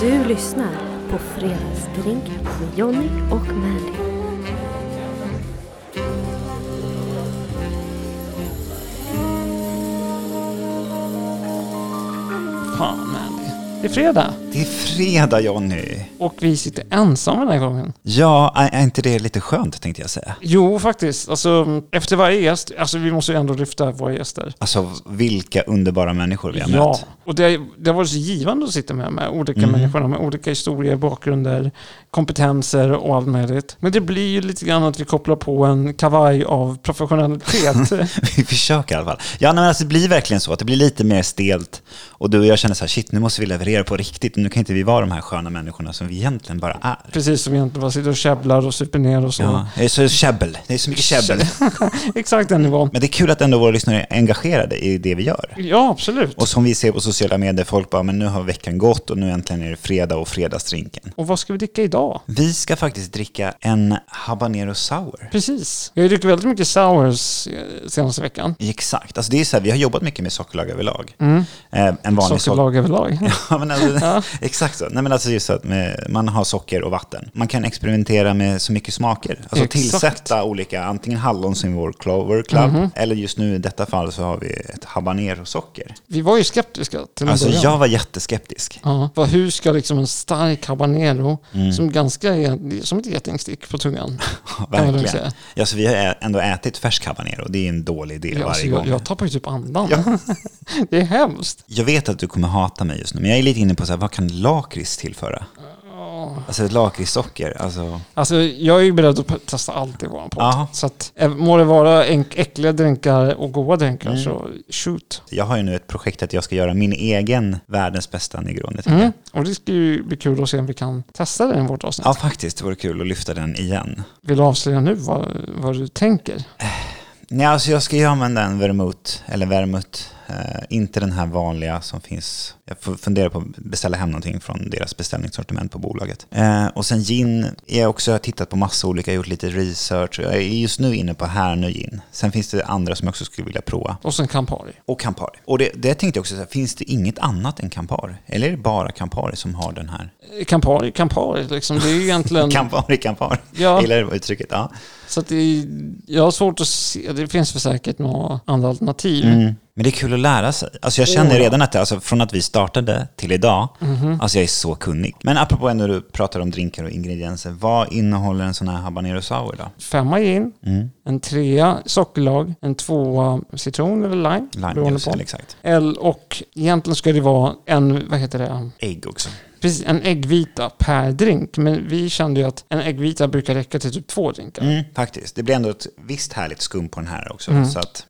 Du lyssnar på Fredagsdrink med Jonny och Mandy. Fan Mandy. Det är fredag Det är fredag Jonny. och vi sitter ensamma den här gången. Ja, är är inte det lite skönt tänkte jag säga. Jo, faktiskt. Alltså, efter varje gäst, alltså vi måste ju ändå lyfta våra gäster. Alltså vilka underbara människor vi har Ja, mött. och det, det har varit så givande att sitta med, med olika Mm. människor med olika historier, bakgrunder, kompetenser och allt möjligt. Men det blir ju lite grann att vi kopplar på en kavaj av professionalitet. Vi försöker i alla fall. Ja, nej, men alltså, det blir verkligen så att det blir lite mer stelt. Och du och jag känner så här, shit nu måste vi leverera på riktigt. Nu kan inte vi vara de här sköna människorna som vi egentligen bara är. Precis som vi egentligen bara sitter och käbblar och super ner och så. Ja, det är så käbbel. Det är så mycket käbbel. Exakt den nivån. Men det är kul att ändå våra lyssnare är engagerade i det vi gör. Ja, absolut. Och som vi ser på sociala medier, folk bara, men nu har veckan gått och nu äntligen är det fredag och fredagsdrinken. Och vad ska vi dricka idag? Vi ska faktiskt dricka en habanero sour. Precis. Jag har ju druckit väldigt mycket sours eh, senaste veckan. Exakt. Alltså det är så här, vi har jobbat mycket med sockerlag överlag. Eh, en vanlig socker... Mm. Sockerlag överlag. Ja, men alltså, Exakt så. Nej, men alltså just så att med, man har socker och vatten. Man kan experimentera med så mycket smaker. Alltså Exakt. tillsätta olika, antingen hallon som i vår Clover Club, Mhm. eller just nu i detta fall så har vi ett habanero-socker. Vi var ju skeptiska till en Alltså början. jag var jätteskeptisk. Ja, vad, hur ska liksom en stark habanero, Mm. som ganska är som ett getingstick på tungan. man lugnt Verkligen. säga. Ja, så vi har ä- ändå ätit färsk habanero. Det är en dålig idé Ja, alltså, varje jag, gång. jag tappar ju typ andan. Ja. Det är hemskt. Jag vet att du kommer hata mig just nu, men jag är lite inne på så här, vad kan lakrits tillföra? Alltså ett lakritssocker, alltså... Alltså, jag är ju beredd att p- testa allt i våran podd. Aha. Så att, eh, må det vara enk- äckliga drinkar och goda drinkar Mm. så shoot. Jag har ju nu ett projekt att jag ska göra min egen världens bästa Negroni. tänker Mm. jag. Och det ska ju bli kul att se om vi kan testa den i vårt avsnitt. Ja, faktiskt. Det vore kul att lyfta den igen. Vill du avslöja nu vad, vad du tänker? Nej, alltså jag ska ju använda en vermouth, eller vermouth. Eh, inte den här vanliga som finns. Jag får fundera på att beställa hem någonting från deras beställningssortiment på bolaget. Eh, och sen gin, jag har också tittat på massa olika, gjort lite research. Jag är just nu inne på här nu gin. Sen finns det andra som jag också skulle vilja prova. Och sen Campari. Och Campari. Och det, det tänkte jag också, så här, finns det inget annat än Campari? Eller är det bara Campari som har den här? Eh, Campari, Campari liksom. Det är ju egentligen... Campari, Campari. Ja. Jag gillar det uttrycket. Ja. så att det är, jag har svårt att se. Det finns väl säkert några andra alternativ. Mm. Men det är kul att lära sig. Alltså jag känner redan att det, alltså från att vi startade till idag, alltså jag är så kunnig. Men apropå ändå du pratar om drinkar och ingredienser, vad innehåller en sån här habanero sour då? Femma gin, Mm. en trea sockerlag, en tvåa citron eller lime. Limejuice, eller exakt. L och egentligen ska det vara en, vad heter det, Ägg också. precis en äggvita per drink. Men vi kände ju att en äggvita brukar räcka till typ två drinkar. Mm, faktiskt. Det blir ändå ett visst härligt skum på den här också. Så att,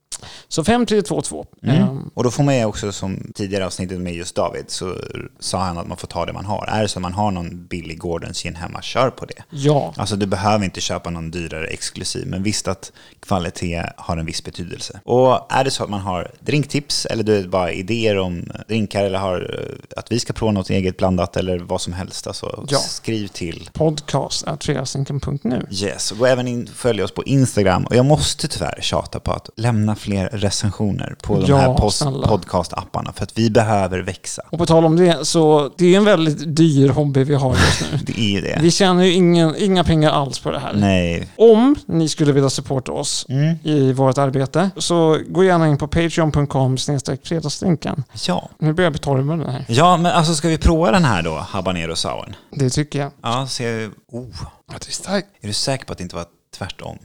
Så 5, 3, 2, 2. Mm. Ehm, och då får man ju också, som tidigare avsnittet med just David, så sa han att man får ta det man har. Är det så att man har någon billig Gordons gin hemma, kör på det. ja, Alltså du behöver inte köpa någon dyrare exklusiv, men visst att kvalitet har en viss betydelse. Och är det så att man har drinktips eller du vet, bara idéer om drinkar eller har, eh, att vi ska prova något eget blandat eller vad som helst, alltså Ja. skriv till. podcast at fredagsdrinken.nu. Yes, och gå även in följ oss på Instagram. Och jag måste tyvärr tjata på att lämna fler recensioner på de Ja, här post- snälla. podcast-apparna för att vi behöver växa. Och på tal om det, så det är en väldigt dyr hobby vi har just nu. Det är ju det. Vi tjänar ju ingen, inga pengar alls på det här. Nej, Om ni skulle vilja supporta oss i vårt arbete så gå gärna in på patreon.com fredagsdrinken. ja. Nu börjar jag bli torr i munnen här. Ja, men alltså ska vi prova den här då, habanero sauern? Det tycker jag. Ja, se. Oh. Att det är starkt. Är du säker på att det inte var tvärtom?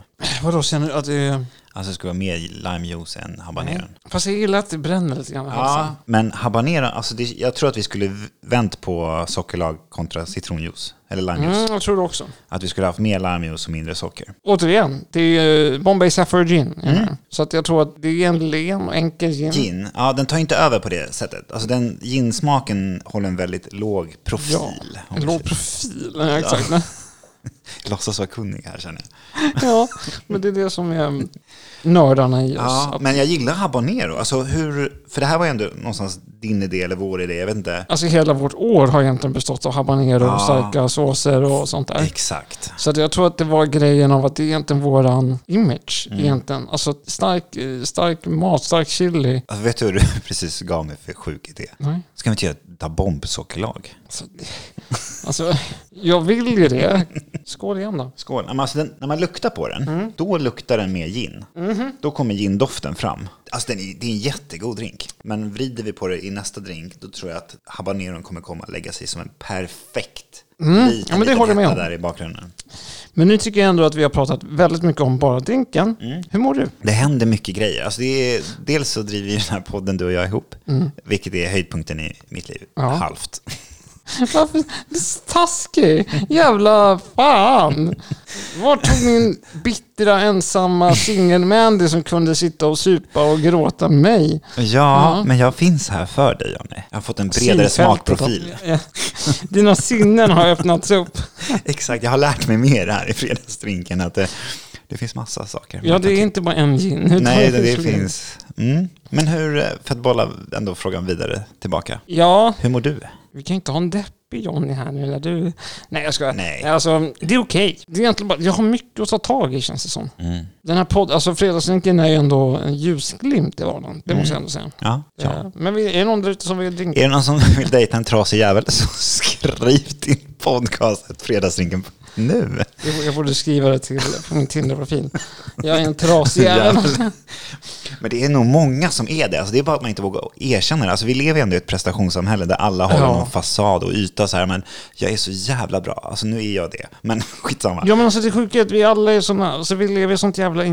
Vadå, känner du att det är... Alltså det skulle vara mer limejuice än habaneron. Fast jag gillar att det bränner lite grann i halsen. Ja, men habanero, alltså det, jag tror att vi skulle v- vänt på sockerlag kontra citronjuice. Eller limejuice. Mm, jag tror det också. Att vi skulle haft mer limejuice och mindre socker. Återigen, det är eh, Bombay Sapphire Gin. Mm. Så att jag tror att det är en len och enkel gin. Gin, ja den tar inte över på det sättet. Alltså den ginsmaken håller en väldigt låg Ja, profil. om en vi låg säger. profil. Ja, exakt. Låtsas vara kunnig här känner jag. Ja, men det är det som är mm, nördarna i oss. Ja, Att- men jag gillar habanero. Alltså hur, för det här var ju ändå någonstans din idé eller vår idé, jag vet inte. Alltså hela vårt år har egentligen bestått av habanero, Ja. och starka såser och sånt där. Exakt. Så att jag tror att det var grejen av att det är egentligen våran image. Mm. Egentligen. Alltså stark, eh, stark mat, stark chili. Alltså, vet du hur du precis gav mig för sjuk idé? Nej. Ska vi inte göra ett dabombsockerlag? Alltså, alltså, jag vill ju det. Skål igen då. Skål. Ja, men Alltså, den, när man luktar på den, Mm. då luktar den mer gin. Mm-hmm. Då kommer gindoften fram. Alltså den är, det är en jättegod drink. Men vrider vi på det i nästa drink, då tror jag att habaneron kommer komma och lägga sig som en perfekt liten, Mm. Ja, men det liten håller jag med hetta om. där i bakgrunden. Men nu tycker jag ändå att vi har pratat väldigt mycket om bara drinken. Mm. Hur mår du? Det händer mycket grejer. Alltså det är, dels så driver ju den här podden du och jag ihop, vilket är höjdpunkten i mitt liv. Mm. Ja. Halvt. Varför? Du är så taskig! Jävla fan! Var tog min bittra ensamma singelmandy som kunde sitta och supa och gråta mig? Ja, men jag finns här för dig, Johnny. Jag har fått en bredare Synfältet smakprofil. har- Dina sinnen har öppnats upp. Exakt, jag har lärt mig mer här i fredagsdrinken. Att det, det finns massa saker. Ja, det är inte bara en gin. utan Nej, det, det fler. finns. Mm. Men hur, eh, för att bolla ändå frågan vidare tillbaka. Ja, Hur mår du? vi kan inte ha en deppig Johnny här nu, eller du? Nej, jag ska. Nej. Alltså, det är okej. Det är egentligen bara, jag har mycket att ta tag i, känns det som. Mm. Den här podden, alltså fredagsdrinken är ju ändå en ljusglimt i vardagen. Det måste jag ändå säga. Ja, Mm. ja. Ja. Men vi- är det någon där ute som vill drinka? Är det någon som vill dejta en trasig jävel så skriv till podcastet Fredagsdrinken nu. Jag, jag borde skriva det till på min Tinder-profil. Jag är en trasig jävel. Jävel. Men det är nog många som är det. Alltså det är bara att man inte vågar erkänna det. Alltså vi lever ju ändå i ett prestationssamhälle där alla har Ja. någon fasad och yta så här. Men jag är så jävla bra. Alltså nu är jag det. Men skitsamma. Ja men alltså det sjuka är att vi alla är såna, alltså vi lever i ett sånt jävla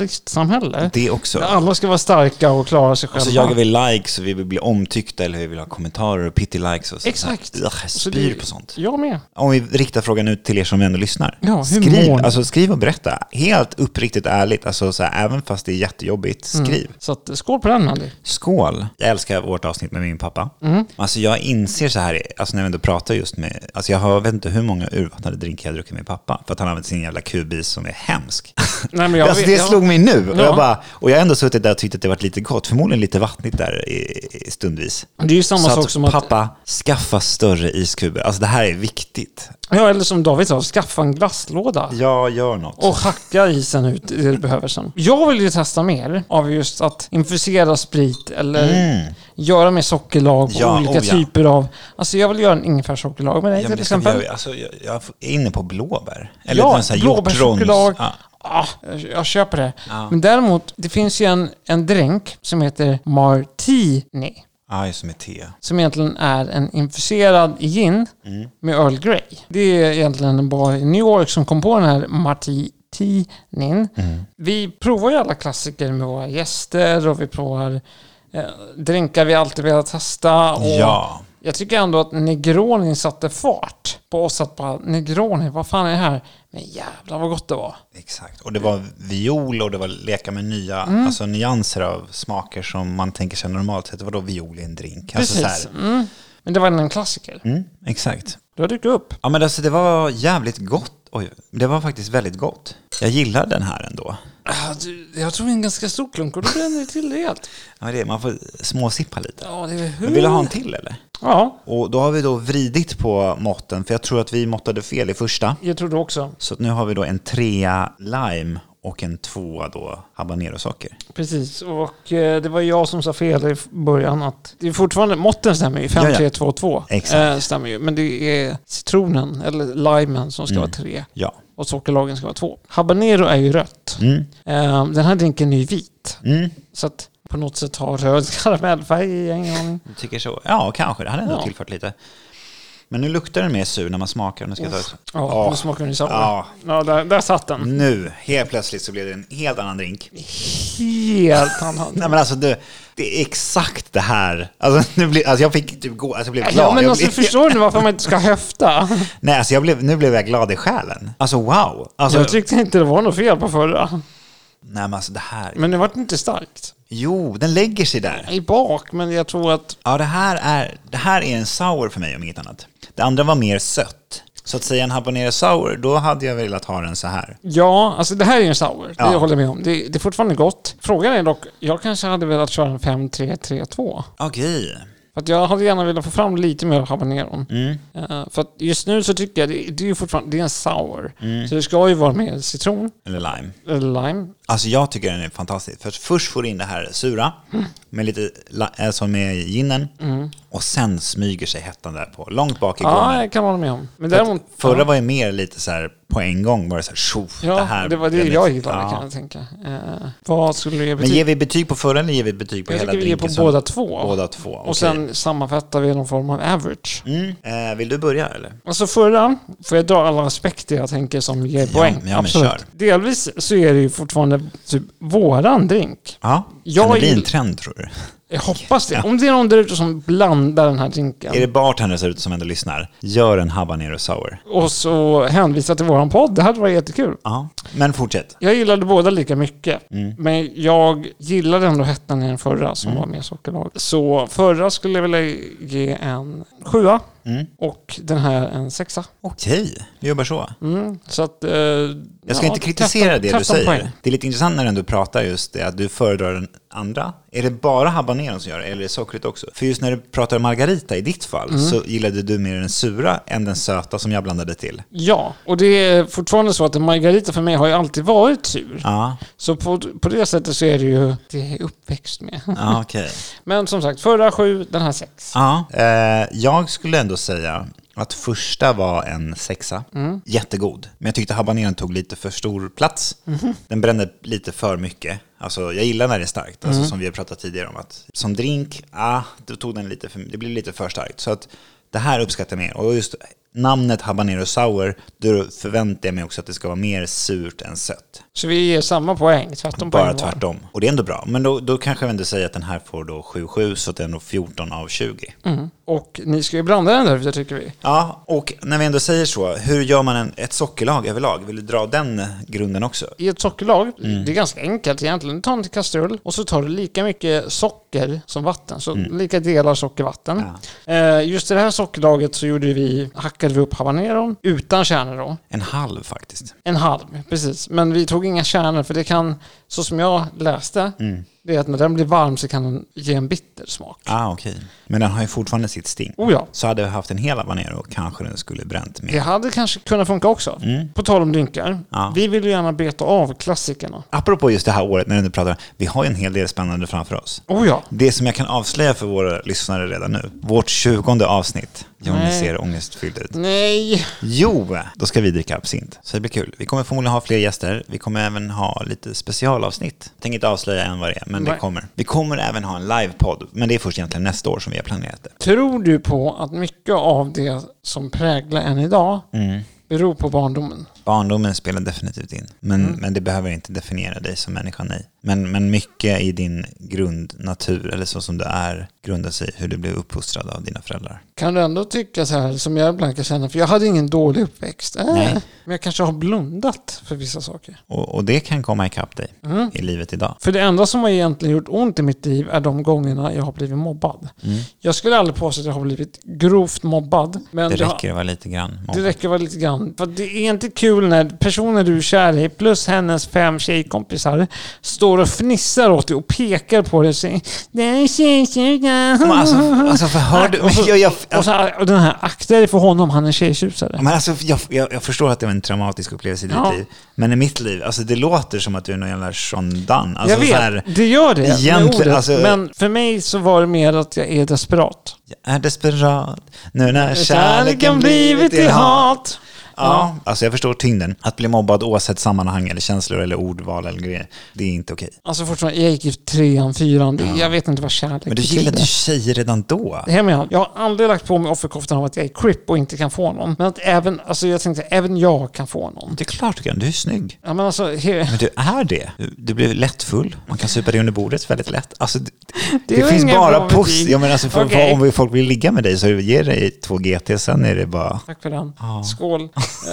individualistsamhälle. Det också. Alltså, Där alla ska vara starka och klara sig själva. Så jagar vi likes och vi vill bli omtyckta eller vi vill ha kommentarer och pity likes och så. Exakt. Så här, ugh, jag Så spyr det- på sånt. Jag med. Om vi riktar frågan ut till er som ändå lyssnar. Ja, hur skriv, mår ni? alltså, skriv och berätta. Helt uppriktigt ärligt. Alltså, så här, även fast det är jättejobbigt, Mm. skriv. Så att, skål på den Mandy. Skål! Jag älskar vårt avsnitt med min pappa. Mm. Alltså jag inser så här, alltså när vi ändå pratar just med, alltså jag har, vet inte hur många urvattnade drinkar jag druckit med pappa, för att han använder sin jävla kubis som är hemsk. Nej, men jag alltså vet- det jag- slog mig nu, och, Ja. jag bara, och jag har ändå suttit där och tyckt att det varit lite gott, förmodligen lite vattnigt där i, i stundvis. Det är ju samma så sak att som att... pappa, skaffa större iskuber. Alltså det här är viktigt. Ja eller som David sa, skaffa en glasslåda. Jag gör något. Och hacka isen ut det du behöver sen. Jag vill ju testa mer av just att infusera sprit eller göra med sockerlag och Mm. Ja, olika oh ja. typer av... Alltså jag vill göra en ingefärssockerlag med dig Ja, men till det ska vi exempel. göra. alltså, jag, jag är inne på blåbär. Eller Ja, någon sån här hjortrons. blåbärschoklad. Ja. Ah, jag- jag köper det. Men däremot, det finns ju en, en drink som heter Martini. Ja, just med te. Som egentligen är en infuserad gin Mm. med Earl Grey. Det är egentligen en bar i New York som kom på den här Martinin. Mm. Vi provar ju alla klassiker med våra gäster och vi provar eh, drinkar vi alltid velat testa. Och Ja. Jag tycker ändå att Negroni satte fart på oss att bara Negroni, vad fan är det här? Men jävlar vad gott det var. Exakt. Och det var viol och det var leka med nya alltså, nyanser av smaker som man tänker sig normalt sett. Vadå viol i en drink? Alltså, Precis. Mm. Men det var en klassiker. mm, exakt. Du har dykt upp. Ja men alltså det var jävligt gott. Oj, det var faktiskt väldigt gott. Jag gillar den här ändå. Ah, du, Jag tog en ganska stor klunk och då brände det till rejält. Ja, men det, man får småsippa lite. Ja, det är Men vill du ha en till eller? Ja, Och då har vi då vridit på måtten, för jag tror att vi måttade fel i första. jag tror det också. Så att nu har vi då en trea lime och en tvåa då habanerosocker. Precis, och eh, det var jag som sa fel i f- början att det är fortfarande, måtten stämmer ju, 5, Ja, ja. 3, 2, 2. Exakt. Eh, stämmer ju, men det är citronen, eller limen, som ska Mm. vara 3 Ja. och sockerlagen ska vara 2. Habanero är ju rött. Mm. Eh, den här drinken är ju vit, Mm. så att på något sätt har röd karamellfärg i, jag har ingen aning. Du tycker så? Ja, kanske. Det hade ändå Ja. tillfört lite. Men nu luktar den mer sur när man smakar. Nu ska jag ta ett. Ja, Ja. nu smakar den ju sour. Ja. Mm. Ja, där, där satt den. Nu, helt plötsligt så blev det en helt annan drink. Helt annan. Nej men alltså du, det är exakt det här. Alltså, nu blir, alltså jag fick typ gå, alltså jag blev glad. Ja, men jag alltså, blev, förstår du varför man inte ska höfta? Nej alltså jag blev, nu blev jag glad i själen. Alltså wow. Alltså, Jag tyckte inte det var något fel på förra. Nej men alltså det här. Men det vart inte starkt. Jo, den lägger sig där. I bak, men jag tror att... Ja det här är, det här är en sour för mig om inget annat. Det andra var mer sött. Så att säga en habanero sour, då hade jag velat ha den så här. Ja, alltså det här är ju en sour. Ja. Det håller jag med om. Det, det är fortfarande gott. Frågan är dock, jag kanske hade velat köra en 5-3-3-2. Okej. För att jag hade gärna velat få fram lite mer habaneron. Mm. Eh, för att just nu så tycker jag, det, det är ju fortfarande, det är en sour. Mm. Så det ska ju vara med citron, Eller lime. eller lime. Alltså jag tycker den är fantastisk. För först får du in det här sura, med lite, la- eh, som med ginen. Och sen smyger sig hettan där på, långt bak i Mm. Ja, gången. det kan man hålla med om. Men däremot... Förra var ju mer lite så här, på en gång var det så här, tjoff, Ja, det det, här. var det den är- jag gillade Ja. kan jag tänka. Eh, vad skulle det Men betyda? ger vi betyg på förra eller ger vi betyg på jag hela tycker vi ger på drinken? som- båda två. Båda två. okej. Och sen sammanfattar vi någon form av average. Mm. Eh, vill du börja eller? Alltså förra, får jag dra alla aspekter jag tänker som ger poäng? men kör. Delvis så är det ju fortfarande typ våran drink. Ja. kan Jag det bli en gill- trend tror du? Jag hoppas det. Om det är någon där ute som blandar den här drinken Är det bartenders där ute som ändå lyssnar? Gör en habanero sour. och så hänvisar till våran podd, det hade varit jättekul. Ja, men fortsätt. Jag gillade båda lika mycket, Mm. men jag gillade ändå hettan i den förra som var mer sockerlag. Så förra skulle jag vilja ge en sjua Mm. och den här en sexa. Okej, vi jobbar så. Mm. Så att, eh, Jag ska ja, inte kritisera tretton- det du tretton säger. poäng. Det är lite intressant när du ändå pratar just det, att du föredrar den andra. Är det bara habaneron som gör det, eller är det sockret också? För just när du pratar om margarita i ditt fall, Mm. så gillade du mer den sura än den söta som jag blandade till. Ja, och det är fortfarande så att en margarita för mig har ju alltid varit sur. Ja, Så på, på det sättet så är det ju det jag är uppväxt med. ja okej. Men som sagt, förra sju, den här sex. Ja. Eh, jag skulle ändå säga att första var en sexa. Mm. Jättegod. Men jag tyckte habaneron tog lite för stor plats. Mhm. Den brände lite för mycket. Alltså, jag gillar när det är starkt, alltså, Mm. som vi har pratat tidigare om. Att, som drink, ah, då tog den lite för, det blev lite för starkt. Så att, det här uppskattar jag mer. Och just namnet habanero sour, då förväntar jag mig också att det ska vara mer surt än sött. Så vi ger samma poäng, tvärtom Bara poäng var. tvärtom. Och det är ändå bra. Men då, då kanske vi ändå säger att den här får då 7-7, så att den är nog 14 av 20. Mm. Och ni ska ju blanda den där ute tycker vi. Ja, och när vi ändå säger så, hur gör man en, ett sockerlag överlag? Vill du dra den grunden också? I ett sockerlag, Mm. det är ganska enkelt egentligen. Du tar en kastrull och så tar du lika mycket socker som vatten. Så Mm. lika delar socker vatten. Eh, just i det här sockerlaget så gjorde vi, hackade vi upp habaneron utan kärnor då. En halv faktiskt. En halv, precis. Men vi tog inga kärnor för det kan, så som jag läste, Mm. det är att när den blir varm så kan den ge en bitter smak. Ah, okej. Men den har ju fortfarande sitt sting. Oh ja. Så hade vi haft en hel habanero kanske den skulle bränt mer. Det hade kanske kunnat funka också. På tal om drinkar. Mm. Ja. Vi vill ju gärna beta av klassikerna. Apropå just det här året när du nu pratar, vi har ju en hel del spännande framför oss. Oh ja. Det som jag kan avslöja för våra lyssnare redan nu, vårt tjugonde avsnitt. Johnny Nej. ser ångestfylld ut. Nej. Jo, då ska vi dricka absint. Så det blir kul. Vi kommer förmodligen ha fler gäster. Vi kommer även ha lite specialavsnitt. Tänker inte avslöja än vad det är, men det Nej. kommer. Vi kommer även ha en livepodd, men det är först egentligen nästa år som vi har planerat det. Tror du på att mycket av det som präglar en idag Mm. beror på barndomen? Barndomen spelar definitivt in, men, Mm. men det behöver inte definiera dig som människa, nej. Men, men mycket i din grundnatur, eller så som du är, grundar sig i hur du blev uppfostrad av dina föräldrar. Kan du ändå tycka så här som jag ibland kan känna, för jag hade ingen dålig uppväxt. Äh, Nej. Men jag kanske har blundat för vissa saker. Och, och det kan komma ikapp dig Mm. i livet idag. För det enda som har egentligen gjort ont i mitt liv är de gångerna jag har blivit mobbad. Mm. Jag skulle aldrig påstå att jag har blivit grovt mobbad. Men Det jag- räcker att vara lite grann Det mobbad. räcker väl lite grann. För det är inte kul när personer du är kär i plus hennes fem tjejkompisar står och fnissar åt dig och pekar på dig och säger Den Men tjejtjusaren. Alltså, alltså förhör du? alltså, Och så- jag, jag, Och, så här, och den här, akta dig för honom, han är tjejtjusare. Men alltså, jag, jag, jag förstår att det var en traumatisk upplevelse i ditt Ja. liv. Men i mitt liv, alltså det låter som att du är någon jävla Sean alltså, jag vet, Så här, det gör det med egentligen, ordet. alltså- men för mig så var det mer att jag är desperat. jag är desperat nu när Kärleken kärleken blivit till hat. Ja, alltså jag förstår tyngden. Att bli mobbad oavsett sammanhang eller känslor eller ordval eller grejer, det är inte okej. Alltså fortfarande, jag gick i trean, fyran. det- Jag vet inte vad kärlek Men du gillade ju tjejer redan då. Det här med jag har aldrig lagt på mig offerkoftan av att jag är crip och inte kan få någon. Men att även, alltså jag tänkte, även jag kan få någon. Det är klart du kan, du är snygg. Ja men alltså, he, Men du är det. Du- Du blir lättfull. Man kan supa dig under bordet väldigt lätt. Alltså, det det, var finns inga bara bra positivt. betyg. Ja, men alltså, för, Okej. Om folk vill ligga med dig så ger dig två GT, sen är det bara... tack för den. Ja. Skål.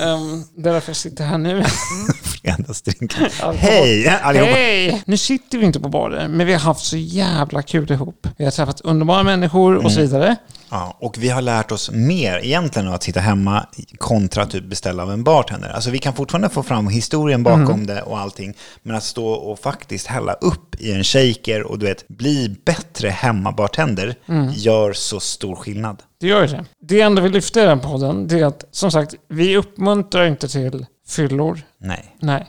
Um, därför jag sitter här nu. fredagsdrinken. Alkohol. Hej allihopa! Mm. Alltså. Hej! Nu Mm. sitter vi inte på barer, men vi har haft så jävla kul ihop. Vi har träffat underbara människor och så vidare. Ja, och vi har lärt oss mer egentligen av att sitta hemma kontra att typ beställa av en bartender. Alltså vi kan fortfarande få fram historien bakom Mm. det och allting, men att stå och faktiskt hälla upp i en shaker och du vet, bli bättre hemmabartender Mm. gör så stor skillnad. Det gör ju det. Det enda vi lyfter i den här podden, det är att som sagt, vi uppmuntrar inte till fyllor. Nej. Nej.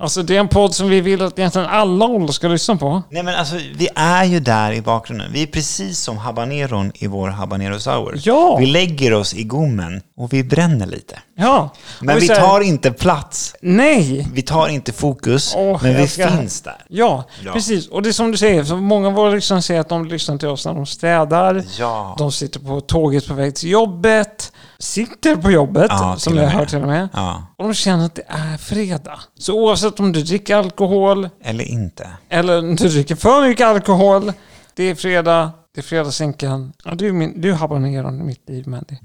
Alltså det är en podd som vi vill att egentligen alla åldrar ska lyssna på. Nej men alltså vi är ju där i bakgrunden. Vi är precis som habaneron i vår habanero sour. Ja. Vi lägger oss i gommen och vi bränner lite. Ja. Men Och vi säger, tar inte plats, Nej! vi tar inte fokus, Åh, men vi jag ska- finns där. Ja, Ja. precis. Och det är som du säger, för många av våra lyssnare säger att de lyssnar till oss när de städar. Ja. De sitter på tåget på väg till jobbet. Sitter på jobbet, Ja, som till och jag med. hör till och med. Ja. Och de känner att det är fredag. Så oavsett om du dricker alkohol Eller inte. eller om du dricker för mycket alkohol. Det är fredag, det är fredagsänkan. Ja, du, är min, du habanerar mitt liv, Mandy.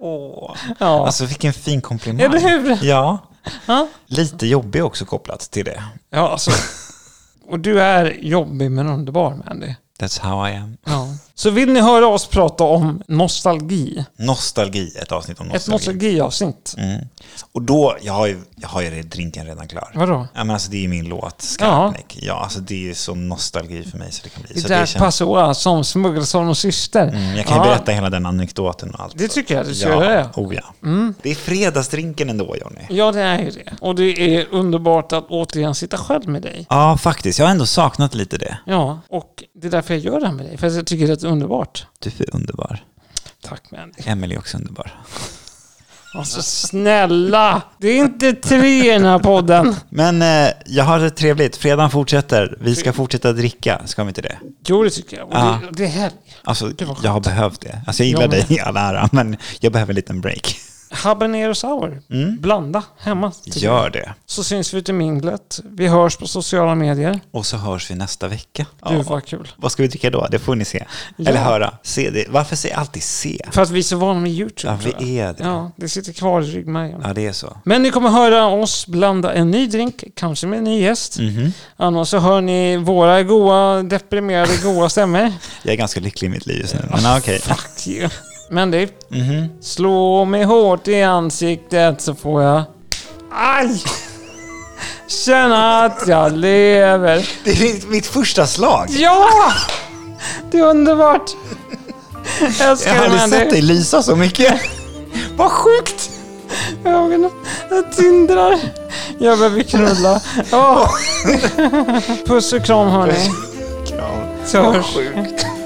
Åh. Ja. Alltså vilken fin komplimang. Eller hur? Ja. Ja. Lite jobbig också kopplat till det. ja, alltså. Och du är jobbig men underbar, Mandy. That's how I am. Ja. Så vill ni höra oss prata om nostalgi? Nostalgi, ett avsnitt om Ett nostalgi. Mm, nostalgiavsnitt. Och då, jag har ju, jag har ju drinken redan klar. Vadå? Ja men alltså det är ju min låt, Skarpnäck. Ja. alltså det är ju så nostalgi för mig så det kan bli. Det så där känns- Passoa som Smuggelsson och syster. Mm, jag kan ju Ja, berätta hela den anekdoten och allt. Det tycker jag att du ska ja. göra. Mm. Oh, ja. Det är fredagsdrinken ändå Johnny. Ja, det är ju det. Och det är underbart att återigen sitta själv med dig. Ja faktiskt, jag har ändå saknat lite det. Ja, och det är därför jag gör det här med dig. För att jag tycker det är underbart. Du Typ är underbar. Tack Mandy. Emelie är också underbar. Alltså snälla! Det är inte tre i den här podden. Men eh, jag har det trevligt. Fredagen fortsätter. Vi ska fortsätta dricka, ska vi inte det? Jo, det tycker jag. Och Ja. det, det är helg. Alltså, vad skönt. jag har behövt det. Alltså, jag gillar Jag med. dig i all ära, men jag behöver en liten break. Habanero sour. Mm. Blanda hemma. tycker jag. Gör det. Så syns vi ute i minglet. Vi hörs på sociala medier. Och så hörs vi nästa vecka. Gud Ja. vad kul. Vad ska vi dricka då? Det får ni se. Eller höra. Se det. Varför säger jag alltid se? För att vi är så vana med YouTube. Ja, vi tror jag. är det. Ja, det sitter kvar i ryggmärgen. Ja, det är så. Men ni kommer höra oss blanda en ny drink, kanske med en ny gäst. Mhm. Annars så hör ni våra goa, deprimerade, goa stämmor. Jag är ganska lycklig i mitt liv just nu. Men ja, okej. Fuck you. Men du, Mhm. slå mig hårt i ansiktet så får jag... Aj! Känna att jag lever. Det är mitt- mitt första slag. Ja! Det är underbart. Jag har Älskar dig, aldrig sett dig Mandy. lysa så mycket. Vad sjukt! Ögonen jag tindrar. Jag behöver knulla. Åh. Puss och kram, hörni. Kram. Så hörs vi. Sjukt.